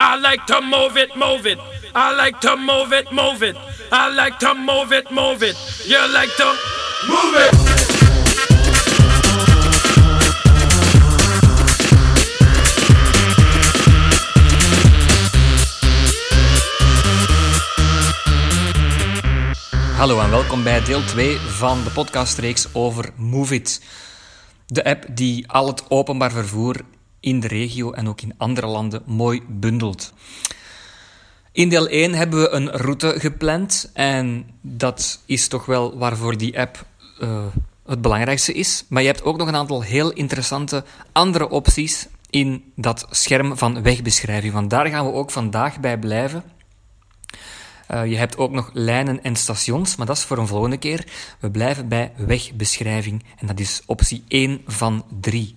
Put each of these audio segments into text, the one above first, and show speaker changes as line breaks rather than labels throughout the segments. I like to move it, move it. I like to move it, move it. I like to move it, move it. You like to move it.
Hallo en welkom bij deel 2 van de podcastreeks over Move It. De app die al het openbaar vervoer in de regio en ook in andere landen mooi bundelt. In deel 1 hebben we een route gepland en dat is toch wel waarvoor die app eh, het belangrijkste is. Maar je hebt ook nog een aantal heel interessante andere opties in dat scherm van wegbeschrijving. Want daar gaan we ook vandaag bij blijven. Eh, je hebt ook nog lijnen en stations, maar dat is voor een volgende keer. We blijven bij wegbeschrijving en dat is optie 1 van 3.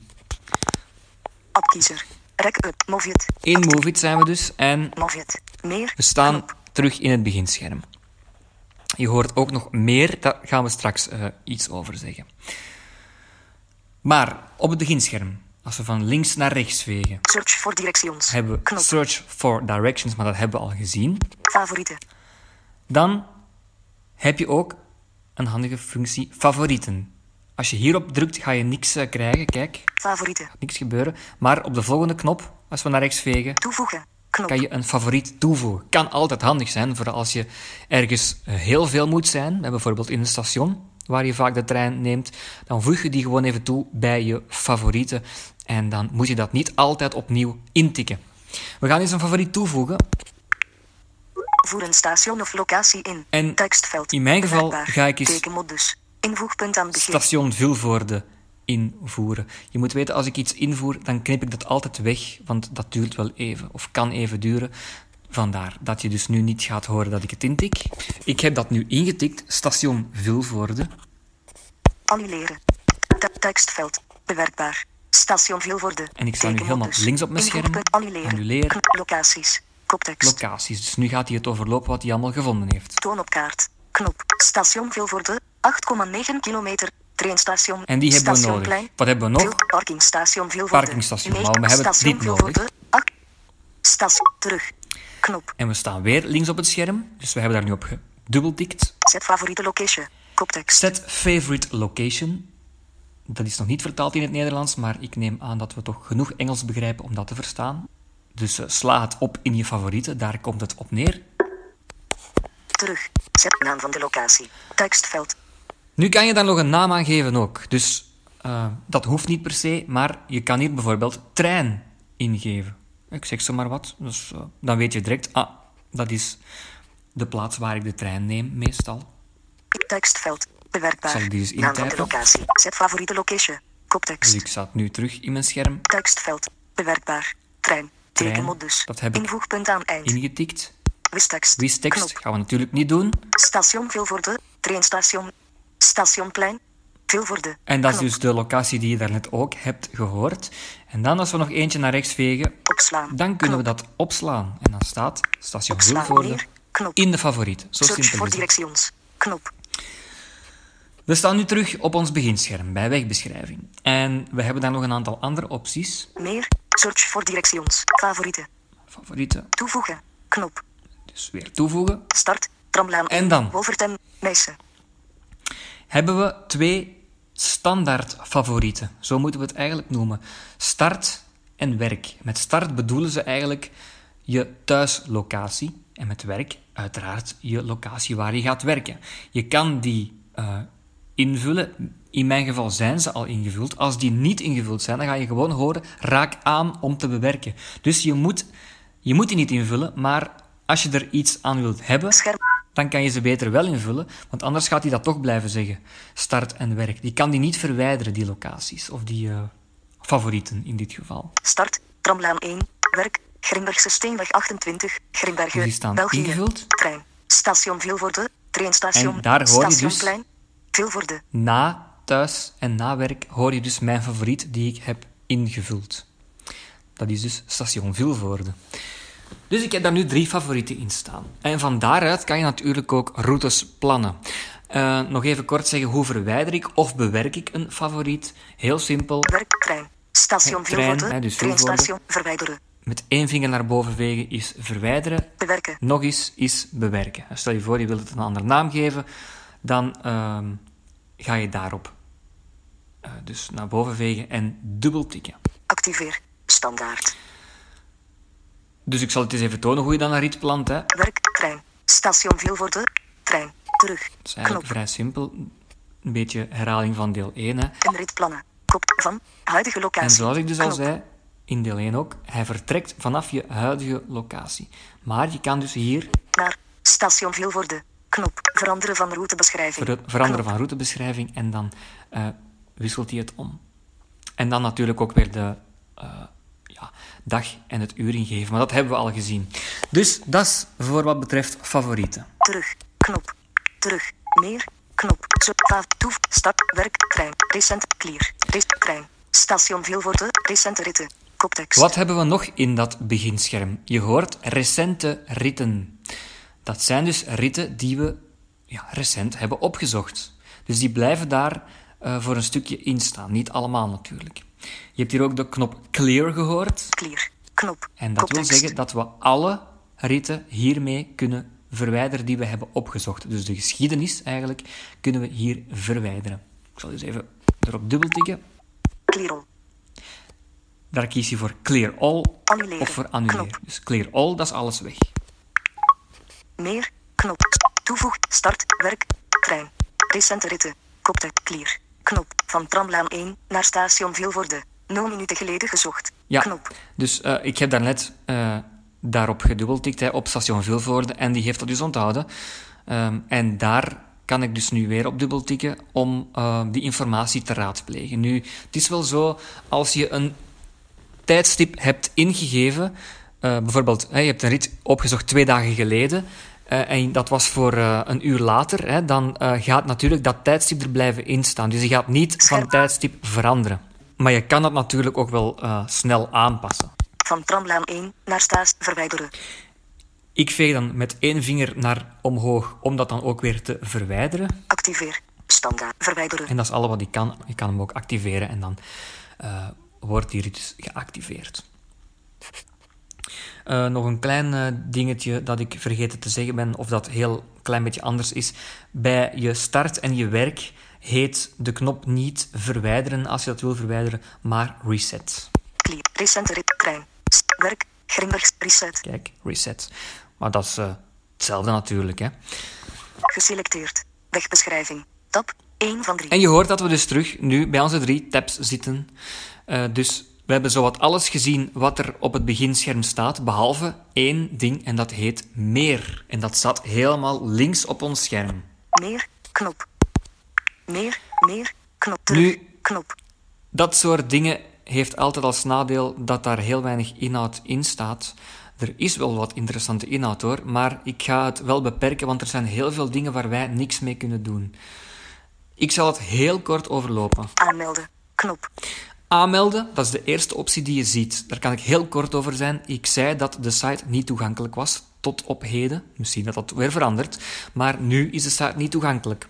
Appkiezer. Rek up. Move it.
In Movit zijn we dus en
Move it. Meer.
we staan terug in het beginscherm. Je hoort ook nog meer, daar gaan we straks eh, iets over zeggen. Maar op het beginscherm, als we van links naar rechts vegen,
Search voor directions.
hebben we
Knop.
Search for Directions, maar dat hebben we al gezien.
Favorieten.
Dan heb je ook een handige functie favorieten. Als je hierop drukt, ga je niks eh, krijgen. Kijk,
Favorieten.
niks gebeuren. Maar op de volgende knop, als we naar rechts vegen,
Toevoegen. Knop.
kan je een favoriet toevoegen. Kan altijd handig zijn, voor als je ergens eh, heel veel moet zijn, eh, bijvoorbeeld in een station waar je vaak de trein neemt, dan voeg je die gewoon even toe bij je favorieten en dan moet je dat niet altijd opnieuw intikken. We gaan eens een favoriet toevoegen.
Voer een station of locatie in.
En
Tekstveld.
in mijn geval
Werkbaar.
ga ik eens-
Tekenmodus. Invoegpunt aan het begin.
Station Vilvoorde invoeren. Je moet weten, als ik iets invoer, dan knip ik dat altijd weg, want dat duurt wel even, of kan even duren. Vandaar dat je dus nu niet gaat horen dat ik het intik. Ik heb dat nu ingetikt, station Vilvoorde.
Annuleren. Te- tekstveld. Bewerkbaar. Station Vilvoorde.
En ik sta nu helemaal
Tekenmodus.
links op mijn scherm.
Invoegpunt Annuleren.
Annuleren.
Knop. Locaties. Koptekst.
Locaties, dus nu gaat hij het overlopen wat hij allemaal gevonden heeft.
Toon op kaart. Knop. Station Vilvoorde. 8,9 kilometer. Treinstation.
En die hebben we nodig.
Stationplein.
Wat hebben we nog?
Wil- Parkingstation Vilvoorde.
Parkingstation,
Nee,
maar we hebben
station
dit nodig.
Vilvoorde. Ak- Station terug. Knop.
En we staan weer links op het scherm, dus we hebben daar nu op gedubbeltikt.
Zet favoriete location. Koptekst.
Set favorite location. Dat is nog niet vertaald in het Nederlands, maar ik neem aan dat we toch genoeg Engels begrijpen om dat te verstaan. Dus eh, sla het op in je favorieten, daar komt het op neer.
Terug. Zet naam van de locatie. Tekstveld.
Nu kan je daar nog een naam aan geven ook. Dus eh, dat hoeft niet per se, maar je kan hier bijvoorbeeld trein ingeven. Ik zeg zomaar wat, dus eh, dan weet je direct, ah, dat is de plaats waar ik de trein neem meestal.
Tekstveld. Bewerkbaar.
Zal ik die eens
naam van de
intypen?
locatie. Zet favoriete location.
Dus
Koptekst.
ik zat nu terug in mijn scherm
Tekstveld. Bewerkbaar. Trein.
Trein.
Tekenmodus.
Dat heb ik
Invoegpunt aan eind.
ingetikt.
Wistekst.
Wistekst
Knop.
gaan we natuurlijk niet doen.
Station Vilvoorde. Treinstation. Stationplein. Vilvoorde.
En dat is
Knop.
dus de locatie die je daarnet ook hebt gehoord. En dan als we nog eentje naar rechts vegen,
Opslaan.
dus- dan kunnen we
Knop.
dat opslaan. En dan staat station
Opslaan
Vilvoorde
neer. Knop.
in de favoriet. Zo
Search
simpel
voor
is het.
directions. Knop.
We staan nu terug op ons beginscherm bij wegbeschrijving. En we hebben daar nog een aantal andere opties.
Meer. Search voor directions. Favorieten.
Favorieten,
Toevoegen. Knop.
dus weer toevoegen.
Start. Tramlaan.
En dan?
Wolvertem. Meissen.
Hebben we twee standaard favorieten. Zo moeten we het eigenlijk noemen. Start en werk. Met start bedoelen ze eigenlijk je thuislocatie. En met werk uiteraard je locatie waar je gaat werken. Je kan die eh, invullen. In mijn geval zijn ze al ingevuld. Als die niet ingevuld zijn, dan ga je gewoon horen raak aan om te bewerken. Dus je moet, je moet die niet invullen, maar als je er iets aan wilt hebben,
Scherm.
dan kan je ze beter wel invullen, want anders gaat hij dat toch blijven zeggen. Start en werk. Die kan die niet verwijderen, die locaties. Of die eh, favorieten in dit geval.
Start. Tramlaan 1. Werk. Grimbergse Steenweg 28. Grimbergen.
Die staan
België.
ingevuld.
Trein. Station Vilvoorde. Treinstation.
En daar hoor je dus-
Stationplein. Vilvoorde.
Na thuis en na werk hoor je dus mijn favoriet die ik heb ingevuld. Dat is dus station Vilvoorde. Dus ik heb daar nu drie favorieten in staan. En van daaruit kan je natuurlijk ook routes plannen. Eh, nog even kort zeggen, hoe verwijder ik of bewerk ik een favoriet? Heel simpel,
Werk. Trein. Station
Trein,
Vilvoorde.
hè, dus Vilvoorde.
Treinstation. Verwijderen.
Met één vinger naar boven vegen is verwijderen.
Bewerken.
Nog eens is bewerken. En Stel je voor, je wilt het een andere naam geven, dan ehm, ga je daarop. Eh, dus naar boven vegen en dubbel tikken.
Activeer. Standaard.
Dus ik zal het eens even tonen hoe je dan naar iets plant. Hè. Het
Werk. Trein. Station Vilvoorde. Trein. Terug.
is eigenlijk
Knop.
vrij simpel. Een beetje herhaling van deel 1. Hè.
En ritplannen. Kop van. Huidige locatie.
En zoals ik dus al
Knop.
zei, in deel 1 ook, hij vertrekt vanaf je huidige locatie. Maar je kan dus hier
Naar. Station Vilvoorde. Knop. Veranderen van routebeschrijving.
ver- veranderen
Knop.
van routebeschrijving en dan eh, wisselt hij het om. En dan natuurlijk ook weer de eh, ja, dag en het uur ingeven, maar dat hebben we al gezien. Dus dat is voor wat betreft favorieten.
Terug. Knop. Terug. Meer. Knop. Zo. Vaaf. Toef. Start. Werk. Trein. Recent. Clear. Rest. Trein. Station Vilvoorde. Recente ritten. Koptekst.
Wat hebben we nog in dat beginscherm? Je hoort recente ritten. Dat zijn dus ritten die we ja, recent hebben opgezocht. Dus die blijven daar eh, voor een stukje in staan. Niet allemaal natuurlijk. Je hebt hier ook de knop clear gehoord.
Clear. Knop.
En dat wil
Koptekst.
zeggen dat we alle ritten hiermee kunnen verwijderen die we hebben opgezocht. Dus de geschiedenis eigenlijk kunnen we hier verwijderen. Ik zal dus even erop dubbeltikken.
Clear all.
Daar kies je voor clear all
Annuleren.
of voor annuleren.
Knop.
Dus clear all, dat is alles weg.
Meer. Knop. Toevoeg. Start. Werk. Trein. Recente ritten. Koptekst. Clear. Knop. Van tramlaan 1 naar station Vilvoorde. 0 minuten geleden gezocht.
Ja,
Knop.
dus eh, ik heb daarnet eh daarop gedubbeltikt hè, op station Vilvoorde en die heeft dat dus onthouden. Ehm, en daar kan ik dus nu weer op dubbeltikken om eh, die informatie te raadplegen. Nu, het is wel zo, als je een tijdstip hebt ingegeven. eh, bijvoorbeeld, hè, je hebt een rit opgezocht twee dagen geleden. eh, en dat was voor eh, een uur later. Hè, dan eh, gaat natuurlijk dat tijdstip er blijven in staan. Dus je gaat niet van tijdstip veranderen. Maar je kan dat natuurlijk ook wel eh, snel aanpassen.
Van tramlaan 1 naar staas verwijderen.
Ik veeg dan met één vinger naar omhoog om dat dan ook weer te verwijderen.
Activeer. Standaard. Verwijderen.
En dat is alles wat ik kan. Je kan hem ook activeren en dan eh, wordt die rit geactiveerd. Eh, nog een klein eh, dingetje dat ik vergeten te zeggen ben, of dat heel klein beetje anders is. Bij je start en je werk heet de knop niet verwijderen als je dat wil verwijderen, maar reset.
Clear. Recente rit. Trein. S- Werk. Grimbergs. Reset.
Kijk, reset. Maar dat is eh, hetzelfde natuurlijk. Hè?
Geselecteerd. Wegbeschrijving. Tab. 1 van 3.
En je hoort dat we dus terug nu bij onze drie tabs zitten. Eh, dus we hebben zowat alles gezien wat er op het beginscherm staat, behalve één ding en dat heet meer. En dat staat helemaal links op ons scherm.
Meer. Knop. Meer. Meer. Knop. Terug.
Nu-
Knop.
Dat soort dingen heeft altijd als nadeel dat daar heel weinig inhoud in staat. Er is wel wat interessante inhoud hoor, maar ik ga het wel beperken, want er zijn heel veel dingen waar wij niks mee kunnen doen. Ik zal het heel kort overlopen.
Aanmelden. Knop.
Aanmelden, dat is de eerste optie die je ziet. Daar kan ik heel kort over zijn. Ik zei dat de site niet toegankelijk was tot op heden. Misschien dat dat weer verandert, maar nu is de site niet toegankelijk.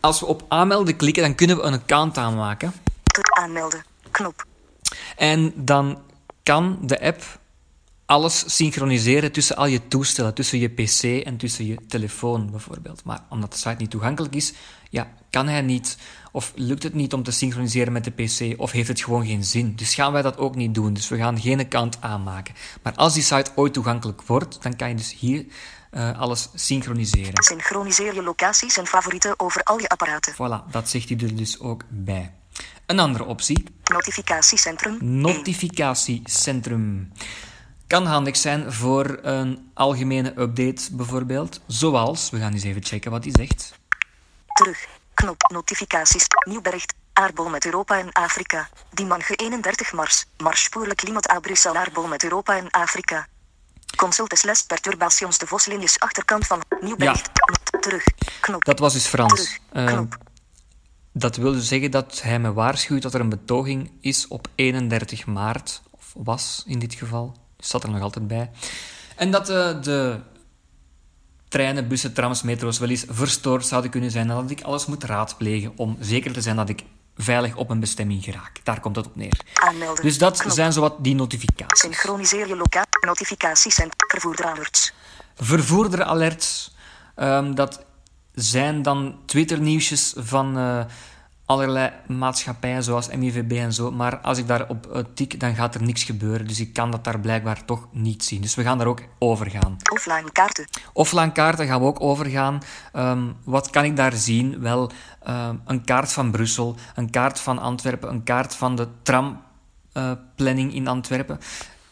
Als we op aanmelden klikken, dan kunnen we een account aanmaken.
Te aanmelden. Knop.
En dan kan de app alles synchroniseren tussen al je toestellen, tussen je PC en tussen je telefoon bijvoorbeeld. Maar omdat de site niet toegankelijk is, ja, kan hij niet. Of lukt het niet om te synchroniseren met de PC, of heeft het gewoon geen zin. Dus gaan wij dat ook niet doen. Dus we gaan geen account aanmaken. Maar als die site ooit toegankelijk wordt, dan kan je dus hier eh, alles synchroniseren.
Synchroniseer je locaties en favorieten over al je apparaten.
Voilà, dat zegt hij er dus ook bij. Een andere optie,
Notificatiecentrum. één.
notificatiecentrum. Kan handig zijn voor een algemene update bijvoorbeeld. Zoals, we gaan eens even checken wat hij zegt.
Terug. Knop. Notificaties. Nieuw bericht. Aardbol met Europa en Afrika. Dimanche 31 mars. Marspoorlijk klimaat à Brussel. Aardbol met Europa en Afrika. Consult is les perturbations de voslinjes achterkant van. Nieuw bericht. Not- Terug. Knop.
Dat was dus Frans.
Terug.
Eh,
Knop.
dat wil dus zeggen dat hij me waarschuwt dat er een betoging is op 31 maart. Of was in dit geval. Dus zat er nog altijd bij. En dat eh, de treinen, bussen, trams, metro's wel eens verstoord zouden kunnen zijn. En dat ik alles moet raadplegen om zeker te zijn dat ik veilig op een bestemming geraak. Daar komt dat op neer.
Aanmelden.
Dus dat
Knop.
zijn zowat die notificaties.
Synchroniseer je locatie. Notificaties en vervoerder alerts.
Vervoerderalerts, ehm, dat zijn dan Twitter-nieuwsjes van eh, allerlei maatschappijen zoals MIVB en zo. Maar als ik daarop eh, tik, dan gaat er niks gebeuren. Dus ik kan dat daar blijkbaar toch niet zien. Dus we gaan daar ook over gaan.
Offline kaarten.
Offline kaarten gaan we ook overgaan. Ehm, wat kan ik daar zien? Wel, ehm, een kaart van Brussel, een kaart van Antwerpen, een kaart van de tramplanning in Antwerpen.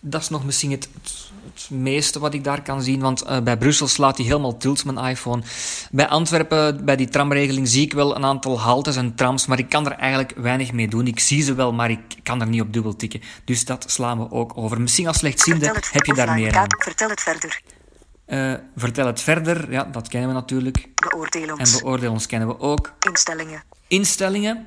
Dat is nog misschien het, het, het meeste wat ik daar kan zien, want eh, bij Brussel slaat hij helemaal tilt mijn iPhone. Bij Antwerpen, bij die tramregeling, zie ik wel een aantal haltes en trams, maar ik kan er eigenlijk weinig mee doen. Ik zie ze wel, maar ik kan er niet op dubbel tikken. Dus dat slaan we ook over. Misschien als slechtziende heb je daar
Offline
meer aan.
kaart. Vertel het verder.
Eh, vertel het verder, ja, dat kennen we natuurlijk.
Beoordeel
En
ons.
beoordeel ons kennen we ook.
Instellingen.
Instellingen,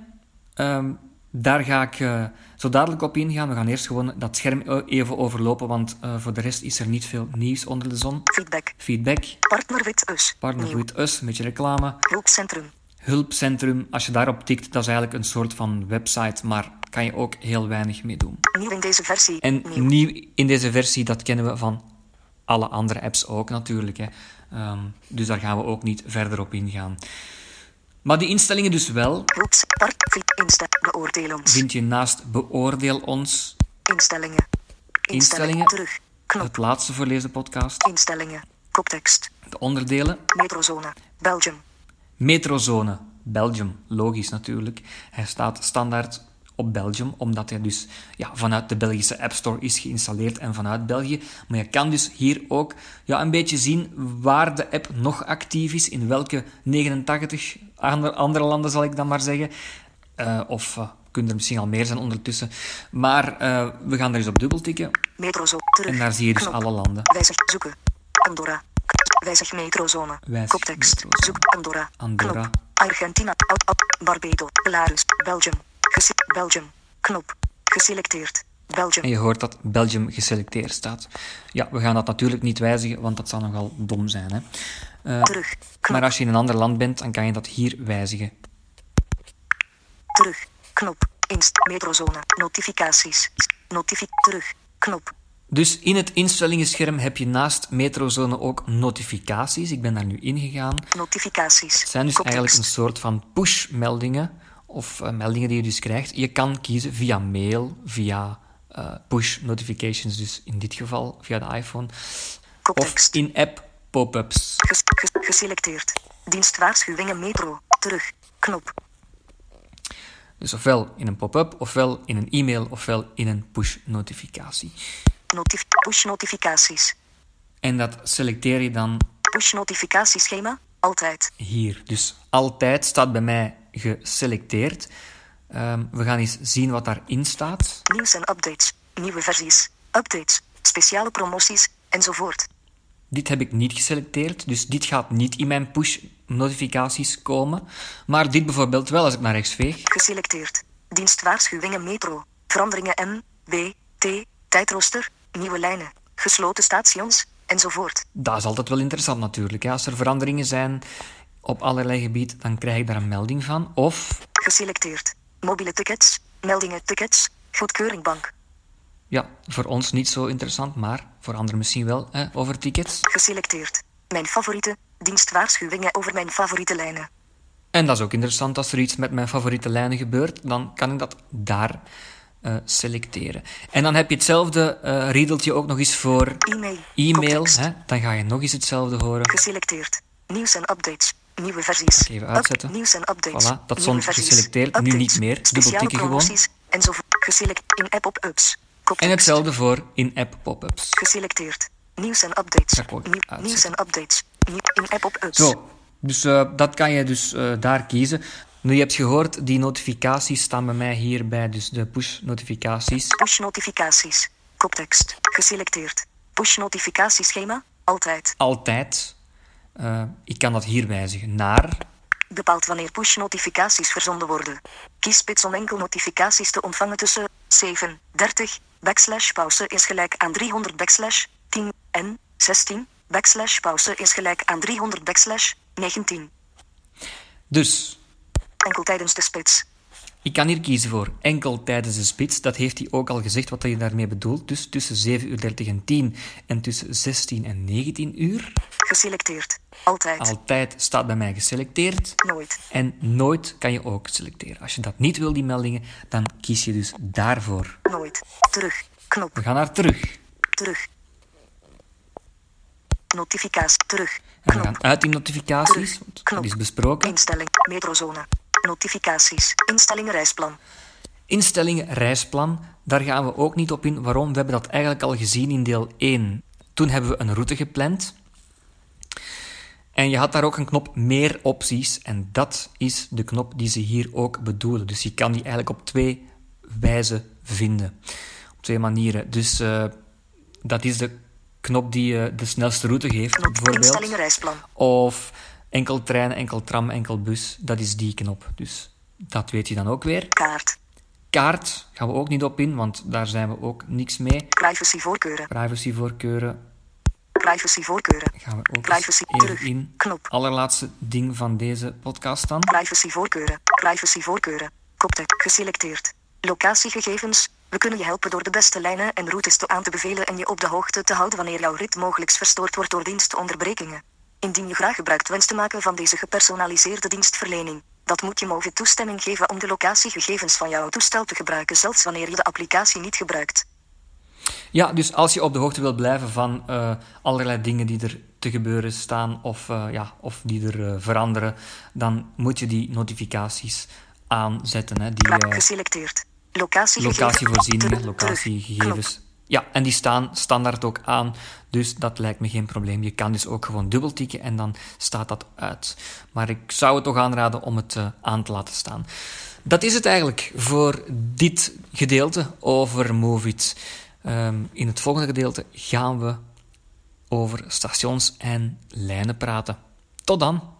ehm, daar ga ik eh, zo dadelijk op ingaan. We gaan eerst gewoon dat scherm eh, even overlopen, want eh, voor de rest is er niet veel nieuws onder de zon.
Feedback.
Feedback,
Partner Wit Us.
partner
Nieuw.
with us, een beetje reclame.
Hulpcentrum.
Hulpcentrum, als je daarop tikt, dat is eigenlijk een soort van website, maar kan je ook heel weinig mee doen.
Nieuw in deze versie.
En
Nieuw.
nieuw in deze versie, dat kennen we van alle andere apps ook natuurlijk. Hè. Ehm, dus daar gaan we ook niet verder op ingaan. Maar die instellingen dus wel
Hulps. Part. Feed. Insta. Beoordeel ons.
vind je naast beoordeel ons,
Instellingen.
Instellingen.
Terug. Knop.
het laatste voor deze podcast,
Instellingen. Koptekst.
de onderdelen.
Metrozone. Belgium.
Metrozone, Belgium, logisch natuurlijk. Hij staat standaard op Belgium, omdat hij dus ja, vanuit de Belgische App Store is geïnstalleerd en vanuit België. Maar je kan dus hier ook ja, een beetje zien waar de app nog actief is, in welke 89 ander- andere landen zal ik dan maar zeggen. Eh, of eh, kunnen er misschien al meer zijn ondertussen. Maar eh, we gaan er eens op dubbel tikken
Metrozone. Terug.
en daar zie je dus
Knop.
alle landen.
Wijzig zoeken. Andorra. Wijzig metrozone.
Wijzig
Koptekst.
metrozone.
Zoek Andorra.
Andorra.
Knop. Argentina. Oud op. Barbados. Belarus. Belgium. Gese Belgium. Knop. Geselecteerd. Belgium.
En je hoort dat Belgium geselecteerd staat. Ja, we gaan dat natuurlijk niet wijzigen, want dat zou nogal dom zijn. Hè? Eh,
Terug. Knop.
maar als je in een ander land bent, dan kan je dat hier wijzigen.
Terug. Knop. Inst. Metrozone. Notificaties. Notific. Terug. Knop.
Dus in het instellingenscherm heb je naast metrozone ook notificaties. Ik ben daar nu ingegaan.
Notificaties.
Het zijn dus
Koptekst.
eigenlijk een soort van push-meldingen. Of eh, meldingen die je dus krijgt. Je kan kiezen via mail, via eh, push notifications, dus in dit geval via de iPhone. Of
Koptekst.
in-app pop-ups.
Ges- ges- geselecteerd. Dienstwaarschuwingen metro. Terug. Knop.
Dus ofwel in een pop-up, ofwel in een e-mail, ofwel in een push-notificatie.
Notif push notificaties.
En dat selecteer je dan
Push notificatieschema. Altijd.
hier. Dus altijd staat bij mij geselecteerd. Ehm, we gaan eens zien wat daarin staat.
Nieuws en updates. Nieuwe versies. Updates. Speciale promoties. Enzovoort.
Dit heb ik niet geselecteerd, dus dit gaat niet in mijn push-notificaties komen. Maar dit bijvoorbeeld wel als ik naar rechts veeg.
Geselecteerd. Dienstwaarschuwingen metro. Veranderingen M, B, T, tijdrooster. Nieuwe lijnen. Gesloten stations. Enzovoort.
Dat is altijd wel interessant natuurlijk. hè. Als er veranderingen zijn op allerlei gebieden, dan krijg ik daar een melding van. Of
Geselecteerd. Mobiele tickets. Meldingen tickets. Goedkeuringbank.
Ja, voor ons niet zo interessant, maar voor anderen misschien wel, hè, over tickets.
Geselecteerd. Mijn favoriete. Dienstwaarschuwingen over mijn favoriete lijnen.
En dat is ook interessant als er iets met mijn favoriete lijnen gebeurt, dan kan ik dat daar eh, selecteren. En dan heb je hetzelfde eh riedeltje ook nog eens voor
E-mail.
e-mail.
Koptekst.
Hè? Dan ga je nog eens hetzelfde horen.
Geselecteerd. Nieuws en updates. Nieuwe versies.
even uitzetten.
Up- nieuws en updates.
Voilà, dat
Nieuwe
stond
versies.
geselecteerd, nu
Updates.
niet meer. Dubbel
Speciale
tikken gewoon.
promoties Enzovoort. Geselecteerd in app op ups.
En hetzelfde voor in-app pop-ups.
Geselecteerd. Nieuws en updates.
Dat kon ik
Nieuw-
uitzetten.
nieuws en updates. Nieuw- in app op ups.
Zo, dus eh, dat kan je dus eh, daar kiezen. Nu, je hebt gehoord, die notificaties staan bij mij hierbij, dus de push-notificaties.
Push notificaties. Koptekst. Geselecteerd. Push notificatieschema. Altijd.
altijd. eh, ik kan dat hier wijzigen naar.
Bepaald wanneer push notificaties verzonden worden. Kies spits om enkel notificaties te ontvangen tussen 7, 30, backslash pauze is gelijk aan 300 backslash 10 en 16, backslash pauze is gelijk aan 300 backslash 19.
Dus
Enkel tijdens de spits.
Ik kan hier kiezen voor enkel tijdens de spits. Dat heeft hij ook al gezegd wat hij daarmee bedoelt. Dus tussen 7.30 uur 30 en 10 en tussen 16 en 19 uur.
Geselecteerd. Altijd.
Altijd staat bij mij geselecteerd.
Nooit.
En nooit kan je ook selecteren. Als je dat niet wil, die meldingen, dan kies je dus daarvoor.
Nooit. Terug. Knop.
We gaan naar terug.
Terug. Notificatie. Terug.
En we
Knop.
gaan uit die notificaties.
Terug.
want
Knop.
Dat is besproken.
Instelling. Metrozone. Notificaties. Instellingen reisplan.
Instellingen, reisplan, daar gaan we ook niet op in. Waarom? We hebben dat eigenlijk al gezien in deel 1. Toen hebben we een route gepland. En je had daar ook een knop meer opties. En dat is de knop die ze hier ook bedoelen. Dus je kan die eigenlijk op twee wijzen vinden. Op twee manieren. Dus eh, dat is de knop die je de snelste route geeft,
Knop.
bijvoorbeeld.
Instellingen reisplan.
Of enkel trein, enkel tram, enkel bus. Dat is die knop. Dus dat weet je dan ook weer.
Kaart.
Kaart gaan we ook niet op in, want daar zijn we ook niks mee.
Privacy voorkeuren.
Privacyvoorkeuren
Privacy voorkeuren.
gaan we ook eens
Privacy
even
terug.
in.
Knop.
Allerlaatste ding van deze podcast dan.
Privacy voorkeuren. Privacy voorkeuren. Koptek. Geselecteerd. Locatiegegevens. We kunnen je helpen door de beste lijnen en routes te aan te bevelen en je op de hoogte te houden wanneer jouw rit mogelijk verstoord wordt door dienstonderbrekingen. Indien je graag gebruik wenst te maken van deze gepersonaliseerde dienstverlening, dat moet je mogen toestemming geven om de locatiegegevens van jouw toestel te gebruiken, zelfs wanneer je de applicatie niet gebruikt.
Ja, dus als je op de hoogte wilt blijven van eh, allerlei dingen die er te gebeuren staan of, eh, ja, of die er eh, veranderen, dan moet je die notificaties aanzetten. Hè, die, eh,
Geselecteerd. Locatiegegevens.
locatievoorzieningen,
Terug.
locatiegegevens. Ja, en die staan standaard ook aan. Dus dat lijkt me geen probleem. Je kan dus ook gewoon dubbeltikken en dan staat dat uit. Maar ik zou het toch aanraden om het eh, aan te laten staan. Dat is het eigenlijk voor dit gedeelte over Movit. Ehm, in het volgende gedeelte gaan we over stations en lijnen praten. Tot dan!